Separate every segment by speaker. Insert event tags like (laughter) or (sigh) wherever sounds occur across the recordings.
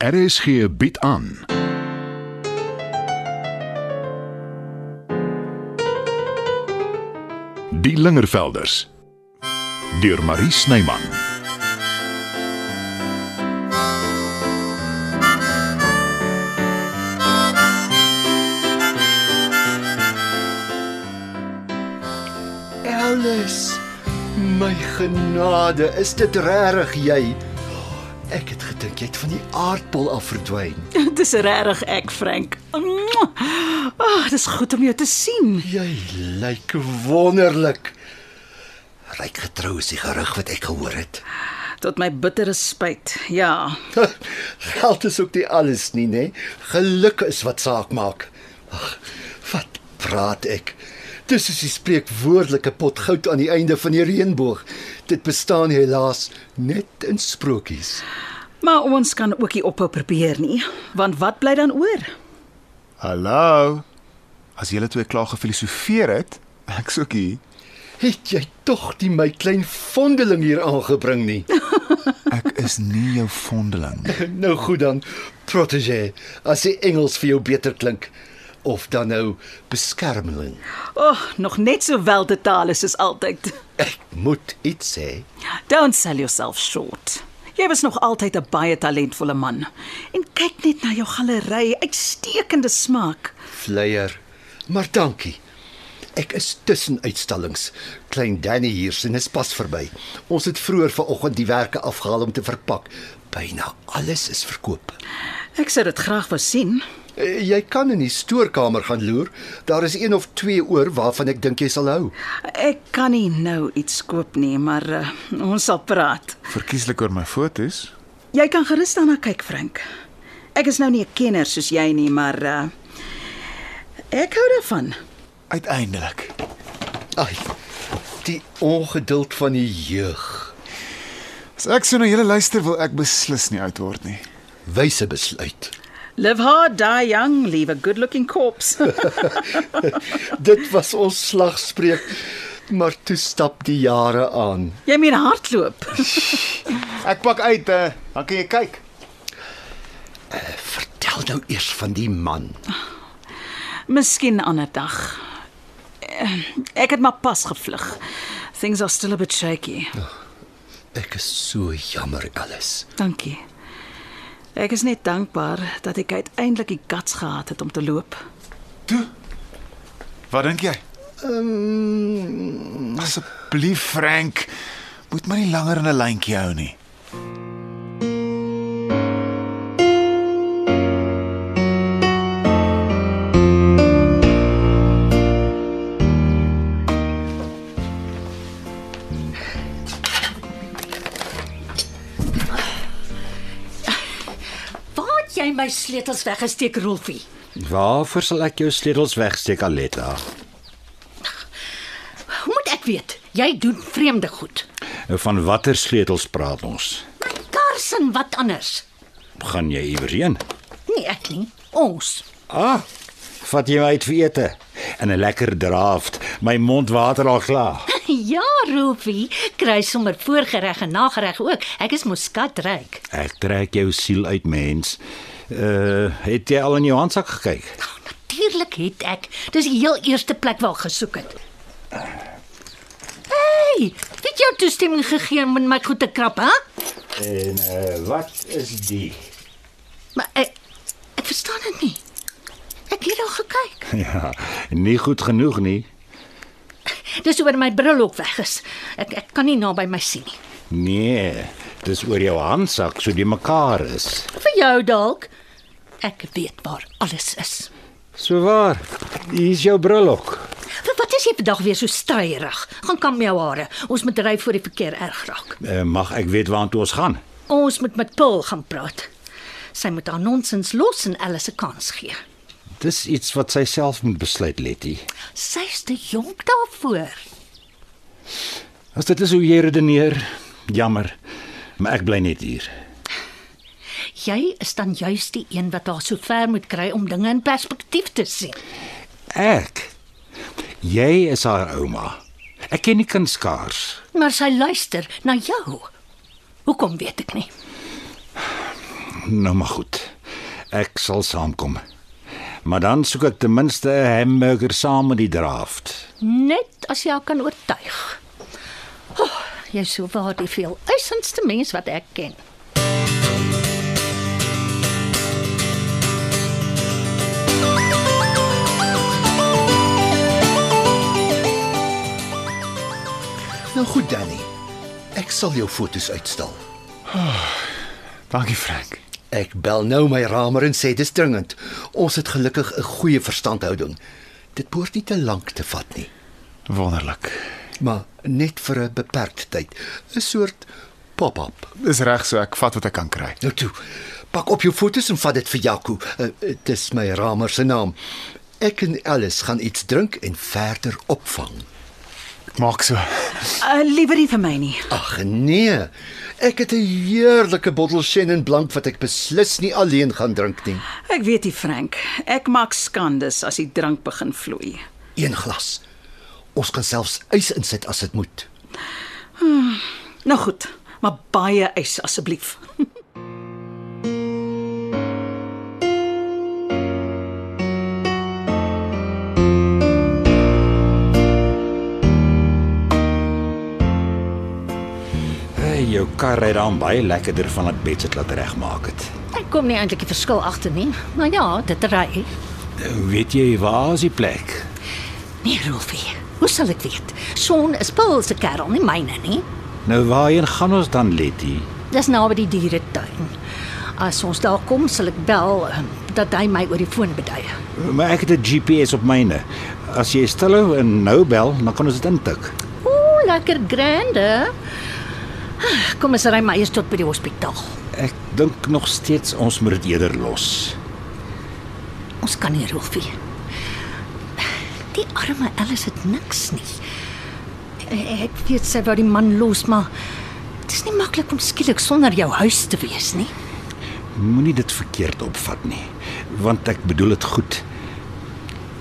Speaker 1: RSG bied aan. Die Lingervelders deur Marie Snyman.
Speaker 2: Alice, my genade, is dit regtig jy? Ek het gedink jy het van die aardbol af verdwyn.
Speaker 3: (laughs) Dis regtig ek, Frank. Ag, dis goed om jou te sien.
Speaker 2: Jy lyk wonderlik. Ryk getrou is die gerug wat ek gehoor het. (laughs)
Speaker 3: Tot my bittere spyt. Ja,
Speaker 2: Geld is ook nie alles nie, né? Geluk is wat saak maak. Ag, wat praat ek? Dis is die spreekwoordelike pot goud aan die einde van die reënboog. Dit bestaan helaas net in sprokies.
Speaker 3: maar ons kan ook nie ophou probeer nie, want wat bly dan oor?
Speaker 4: Hallo. As julle twee klaar gefilosofeer het, ek soek hier.
Speaker 2: Het jy tog nie my klein vondeling hier aangebring nie? (laughs)
Speaker 4: Ek is nie jou vondeling nie.
Speaker 2: nou goed dan, protégé, as die Engels vir jou beter klink of dan nou beskermeling.
Speaker 3: O, oh, nog net so wel te taal is soos altyd.
Speaker 2: Ek moet iets sê.
Speaker 3: Don't sell yourself short. Jy was nog altyd 'n baie talentvolle man. En kyk net na jou galery, uitstekende smaak.
Speaker 2: Vleier. Maar dankie. Ek is tussen uitstallings. Klein Danny hier sien is pas verby. Ons het vroeër vanoggend die werke afgehaal om te verpak. Byna alles is verkoop.
Speaker 3: Ek sou dit graag wou sien.
Speaker 2: Eh, Jy kan in die stoorkamer gaan loer. Daar is een of twee oor waarvan ek dink jy sal hou.
Speaker 3: Ek kan nie nou iets koop nie, maar uh, ons sal praat.
Speaker 4: Verkieslik oor my fotos.
Speaker 3: Jy kan gerus daarna kyk, Frank. Ek is nou nie 'n kenner soos jy nie, maar uh ek hou daarvan.
Speaker 4: Uiteindelik.
Speaker 2: Ai. Die ongeduld van die jeug.
Speaker 4: As ek so na julle luister, wil ek beslis nie oud word nie.
Speaker 2: Wyse besluit.
Speaker 3: Live hard, die young, leave a good-looking corpse.
Speaker 2: Dit was ons slagspreuk, maar toe stap die jare aan.
Speaker 3: jy meen hardloop.
Speaker 4: Ek pak uit, uh, dan kan jy kyk.
Speaker 2: Vertel nou eers van die man.
Speaker 3: Miskien ander dag. Eh, Ek het maar pas gevlug. Things are still a bit shaky.
Speaker 2: Ek is so jammer alles.
Speaker 3: Dankie. Ek is net dankbaar dat ek uiteindelik die guts gehad het om te loop.
Speaker 4: Toe. Wat dink jy? Ehm, um, asseblief Frank, moet my nie langer in 'n lyntjie hou nie.
Speaker 5: Waar het jy my sleutels weggesteek, Rolfie?
Speaker 6: Waarvoor sal ek jou sleutels wegsteek, Aletta?
Speaker 5: Hoe moet ek weet? Jy doen vreemde goed.
Speaker 6: Nou van watter sleutels praat ons?
Speaker 5: My kars en wat anders?
Speaker 6: Gaan jy iewers heen?
Speaker 5: Nee, ek nie. Ons. (laughs)
Speaker 6: Ah, vat jy my uit vir ete en 'n lekker draaft. My mond water al klaar.
Speaker 5: Ja, Rolfie, kry sommer voorgereg en nagereg ook. Ek is mos skatryk.
Speaker 6: Ek trek jou siel uit, mens. Uh, het jy al in jou handsak gekyk?
Speaker 5: Nou, natuurlik het ek. Dis die heel eerste plek waar ek gesoek het. Hey, het jy jou toestemming gegee om in my goed te krap, hè?
Speaker 6: En uh, wat is die?
Speaker 5: Maar ek ek verstaan dit nie. Ek het al gekyk.
Speaker 6: (laughs) Ja, nie goed genoeg nie.
Speaker 5: Dis oor my bril ook weg is. Ek ek kan nie naby my sien nie.
Speaker 6: Nee, dis oor jou handsak so die mekaar is.
Speaker 5: Vir jou dalk. Ek weet waar alles is.
Speaker 6: So waar. Hier is jou bril ook.
Speaker 5: Vir wat is jy vandag weer so stryerig? Gaan kam jou hare. Ons moet ry voor die verkeer erg raak.
Speaker 6: Uh, mag ek weet waartoe ons gaan?
Speaker 5: Ons moet met Paul gaan praat. Sy moet haar nonsens los en Alice 'n kans gee.
Speaker 6: Dis iets wat sy self moet besluit, Letty.
Speaker 5: Sy's te jonk daarvoor.
Speaker 6: As dit is hoe jy redeneer, jammer, maar ek bly net hier.
Speaker 5: Jy is dan juis die een wat haar so ver moet kry om dinge in perspektief te sien.
Speaker 6: Ek. Jy is haar ouma. Ek ken nie kind skaars.
Speaker 5: Maar sy luister na jou. Hoekom weet ek nie.
Speaker 6: nou maar goed. Ek sal saamkom. Maar dan soek ek ten minste 'n hamburger saam met die draft.
Speaker 5: Net as jy haar kan oortuig. Oh, jy is so waar die veel uitsendste mens wat ek ken.
Speaker 2: Nou goed Danny. Ek sal jou fotos uitstal.
Speaker 4: Dankie Frank.
Speaker 2: Ek bel nou my ramer en sê dis dringend. Ons het gelukkig 'n goeie verstandhouding. Dit behoort nie te lank te vat nie,
Speaker 4: Wonderlik.
Speaker 2: maar net vir 'n beperkte tyd. 'n Soort pop-up.
Speaker 4: Dis reg so ek vat wat ek kan kry.
Speaker 2: Nou toe. Pak op jou fotos en vat dit vir Jaco. Eh, eh, Dis my ramer se naam. Ek en Alice gaan iets drink en verder opvang.
Speaker 4: Ek maak so.
Speaker 3: Uh, liever nie vir my nie.
Speaker 2: Ag nee. Ek het 'n heerlike bottel Chenin Blanc wat ek beslis nie alleen gaan drink nie.
Speaker 3: Ek weet nie Frank, ek maak skandes as die drank begin vloei.
Speaker 2: Een glas. Ons kan selfs ys insit as dit moet.
Speaker 3: Nou goed, maar baie ys asseblief.
Speaker 6: Hey, Eh, jou kar ry dan baie lekkerder van wat Bets dit laat regmaak het.
Speaker 5: Ek kom nie eintlik die verskil agter nie, maar ja, dit ry.
Speaker 6: Weet jy waar is die plek?
Speaker 5: Nee, Rolfie. Hoe sal ek weet? Son is Paul se kerel, nie myne nie.
Speaker 6: Nou waarheen gaan ons dan, Letty?
Speaker 5: Dis naby die dieretuin. As ons daar kom, sal ek bel ehm, dat hy my oor die foon bedui.
Speaker 6: Maar ek het 'n GPS op myne. As jy stilhou en nou bel, dan kan ons dit intik.
Speaker 5: Ooh, lekker grande. Ah, Kom ons ry maar eers tot by die hospitaal.
Speaker 6: Ek dink nog steeds ons moet dit eerder los.
Speaker 5: Ons kan nie, Rolfie. Die arme Alice het niks nie. Ek weet sy wou die man los, maar dit is nie maklik om skielik sonder jou huis te wees nie.
Speaker 6: Moenie dit verkeerd opvat nie, want ek bedoel dit goed.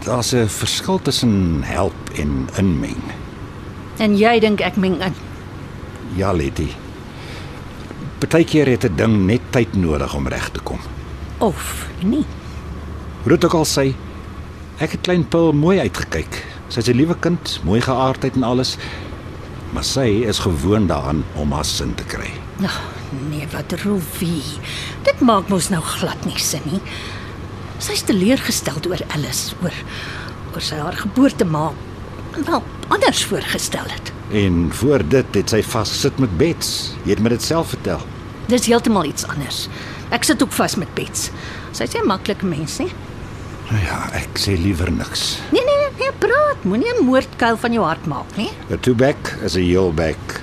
Speaker 6: Daar's 'n verskil tussen help en inmeng.
Speaker 5: En jy dink ek meng in.
Speaker 6: Ja, Letty. Partykeer het 'n ding net tyd nodig om reg te kom.
Speaker 5: Of nie.
Speaker 6: Hoe dit ook al sê, ek het klein Pil mooi uitgekyk. Sy's 'n liewe kind, mooi geaardheid en alles, maar sy is gewoond daaraan om haar sin te kry.
Speaker 5: Ag, nee, wat Rolfie. Dit maak mos nou glad nie sin nie. Sy's teleurgesteld oor Alice, oor oor sy haar geboorte maar wel anders voorgestel het.
Speaker 6: En voor dit het sy vasgesit met Bets. Jy het my dit self vertel.
Speaker 5: Dis heeltemal iets anders. Ek sit ook vas met Bets. Sy's 'n maklike mens, nie?
Speaker 6: Nou ja, ek sê liewer niks.
Speaker 5: Nee nee, nee, nee, praat, moenie 'n moordkuil van jou hart maak nie.
Speaker 6: 'n Two back is 'n heel back.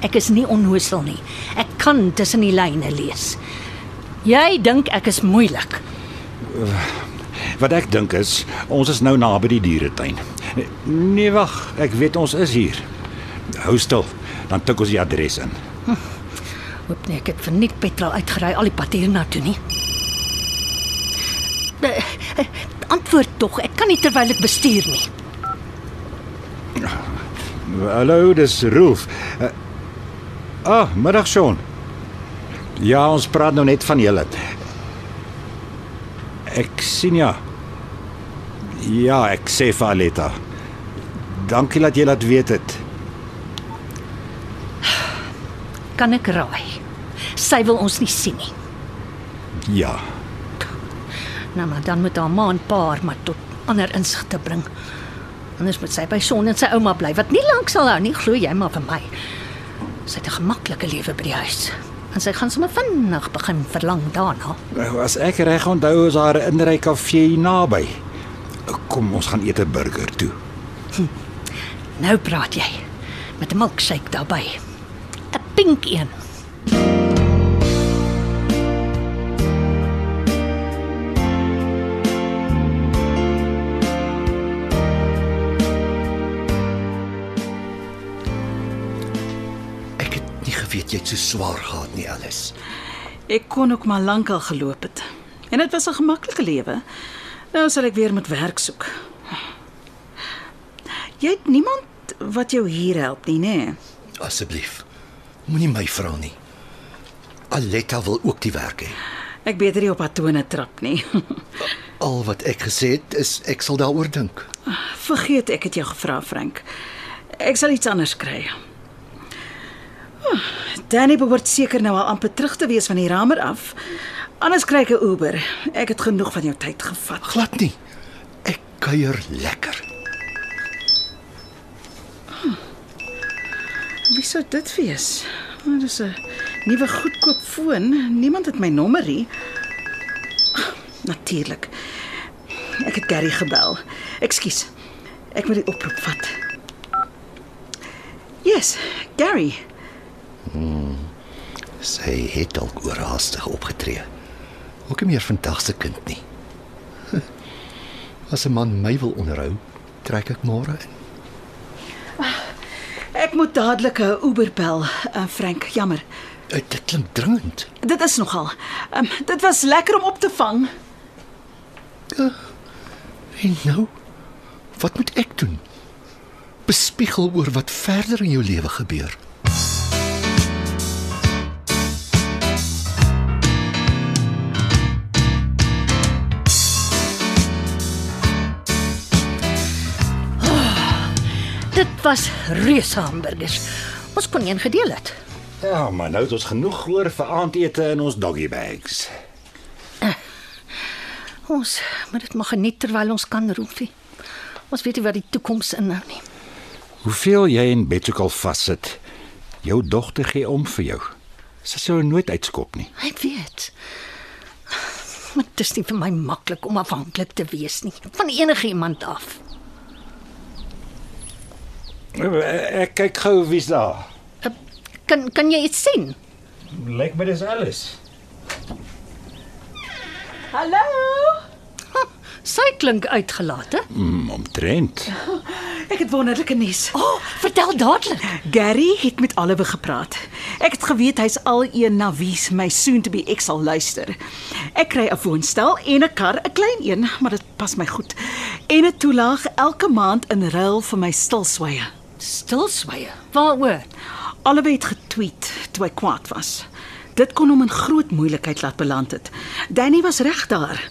Speaker 5: Ek is nie onnoosel nie. Ek kan tussen die lyne lees. Jy dink ek is moeilik.
Speaker 6: Wat ek dink is, ons is nou naby die dieretuin. Nee, wag, ek weet ons is hier. Hou stil, dan tik ons die adres in.
Speaker 5: Hoop nie ek het verniet petrol uitgery al die pad hiernatoe nie. Eh, eh, Antwoord tog, ek kan nie terwyl ek bestuur nie.
Speaker 6: Hallo, dis Rolf. Uh, ah, middag Sean. Ja, ons praat nou net van julle. Ek sien ja. Ja, ek sê vir Aletta. Dankie dat jy laat weet het.
Speaker 5: Kan ek raai? Sy wil ons nie sien nie.
Speaker 6: Ja.
Speaker 5: Nou maar dan moet haar ma en pa haar maar tot ander insigte bring. Anders moet sy by son en sy ouma bly wat nie lank sal hou nie, glo jy maar vir my. Sy het 'n gemaklike lewe by die huis en sy gaan sommer vinnig begin verlang daarna.
Speaker 6: Nou, As ek reg onthou is daar 'n inry kafee hier naby. Kom, ons gaan eet 'n burger toe.
Speaker 5: Nou praat jy met 'n milkshake daarbey. 'n Pink een.
Speaker 2: Ek het nie geweet jy het so swaar gehad nie, Alice.
Speaker 3: Ek kon ook maar lankal geloop het. En dit was 'n gemaklike lewe. Nou sal ek weer met werk soek. Jy het niemand wat jou hier help nie, nê? Nee?
Speaker 2: Asseblief. Moenie my vra nie. Aletta wil ook die werk hê.
Speaker 3: Ek beter nie op haar tone trap nie. (laughs)
Speaker 2: Al wat ek gesê het is ek sal daaroor dink.
Speaker 3: Vergeet ek het jou gevra, Frank. Ek sal iets anders kry. Oh, Danny behoort seker nou al amper terug te wees van die ramer af. Anders kry ek 'n Uber. Ek het genoeg van jou tyd gevat.
Speaker 2: Glad nie. Ek kuier lekker.
Speaker 3: Wie sou dit wees? Oh, Dis 'n nuwe goedkoop foon. Niemand het my nommer nie. Ah, Natuurlik. Ek het Gary gebel. Ekskuus. Ek moet die oproep vat. Yes, Gary.
Speaker 2: Sy het dalk oorhaastig opgetree. Ook nie meer vandag se kind nie. (laughs) As 'n man my wil onderhou, trek ek môre in.
Speaker 3: Ek moet dadelik 'n Uber bel, uh, Frank. Jammer.
Speaker 2: Eh, Dit klink dringend.
Speaker 3: Dit is nogal. Um, dit was lekker om op te vang.
Speaker 2: Eh, En nou, wat moet ek doen? Bespiegel oor wat verder in jou lewe gebeur.
Speaker 5: Dit was reuse hamburgers. Ons kon een gedeel het.
Speaker 6: Ja, maar nou het ons genoeg oor vir aandete in ons doggy bags.
Speaker 5: Eh, Ons moet dit maar geniet terwyl ons kan, Rolfie. Ons weet nie wat die toekoms inhou nie.
Speaker 6: Hoeveel jy en Betsy al vassit, jou dogter gee om vir jou. Sy sou jou nooit uitskop nie.
Speaker 5: Ek weet. Maar dit is nie vir my maklik om afhanklik te wees nie van enige iemand af.
Speaker 6: Eh, Ek kyk gou wie's daar.
Speaker 5: Eh, Kan kan jy iets sien?
Speaker 6: Lyk my dis alles.
Speaker 3: Hallo.
Speaker 5: Huh, Sy klink uitgelate.
Speaker 6: Mm, omtrent.
Speaker 3: Ek het wonderlike nuus.
Speaker 5: O, oh, vertel dadelik.
Speaker 3: Gary het met Olive gepraat. Ek het geweet hy's al een na wie my soon to be ek sal luister. Ek kry 'n woonstel en 'n kar, 'n klein een, maar dit pas my goed. En 'n toelaag elke maand in ruil vir my stilswye.
Speaker 5: Stilswye. Waaroor?
Speaker 3: Olive het getweet toe hy kwaad was. Dit kon hom in groot moeilikheid laat beland het. Danny was reg daar.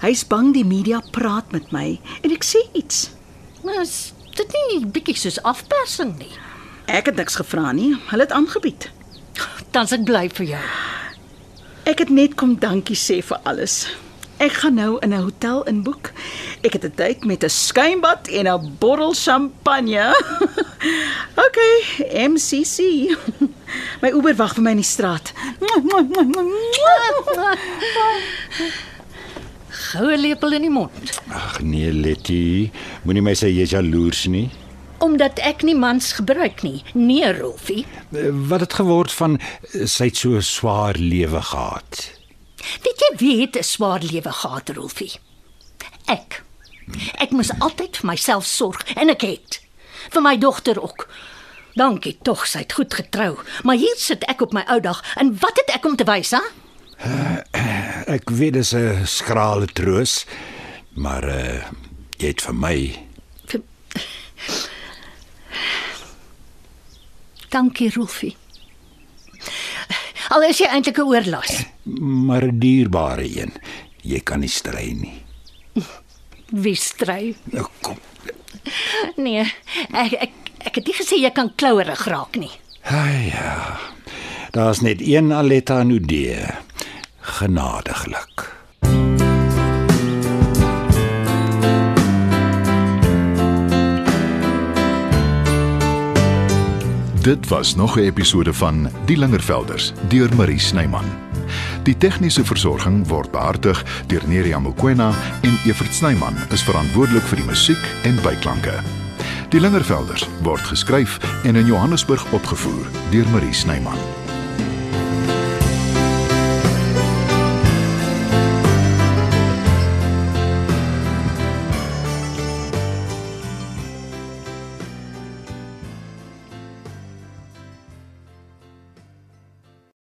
Speaker 3: Hy's bang die media praat met my en ek sê iets.
Speaker 5: Nou is dit nie bietjie soos afpersing nie.
Speaker 3: Ek het niks gevra nie. Hulle het aangebied.
Speaker 5: Dan's ek bly vir jou.
Speaker 3: Ek het net kom dankie sê vir alles. Ek gaan nou in 'n hotel inboek. Ek het 'n date met 'n skuimbad en 'n bottel champagne. (laughs) okay, MCC. (laughs) My Uber wag vir my in die straat.
Speaker 5: Goue lepel in die mond.
Speaker 6: Ag nee, Letty, moenie my sê jy's jaloers nie.
Speaker 5: Omdat ek nie mans gebruik nie. Nee, Rolfie.
Speaker 6: Eh, Wat het geword van eh, sy het so 'n swaar lewe gehad?
Speaker 5: Weet jy wie het 'n swaar lewe gehad, Rolfie? Ek. Ek moes altyd vir myself sorg en ek het vir my dogter ook. Dankie tog, sy het goed getrou. Maar hier sit ek op my ou dag en wat het ek om te wys, hè?
Speaker 6: Ek weet dis 'n skrale troos, maar uh jy het vir my
Speaker 5: Vir... Dankie, Rolfie. Al is jy eintlik 'n oorlas.
Speaker 6: maar 'n dierbare een. Jy kan nie strei nie.
Speaker 5: Wie stry?
Speaker 6: Nou kom.
Speaker 5: Nee, ek ek ek het nie gesê jy kan klouerig raak nie.
Speaker 6: Ah ja. Daar's net een Aletta Nudee. Genadiglik.
Speaker 1: Dit was nog 'n episode van Die Lingervelders deur Marie Snyman. Die tegniese versorging word behartig deur Neriya Mkwena en Evert Snyman is verantwoordelik vir die musiek en byklanke. Die Lingervelders word geskryf en in Johannesburg opgevoer deur Marie Snyman.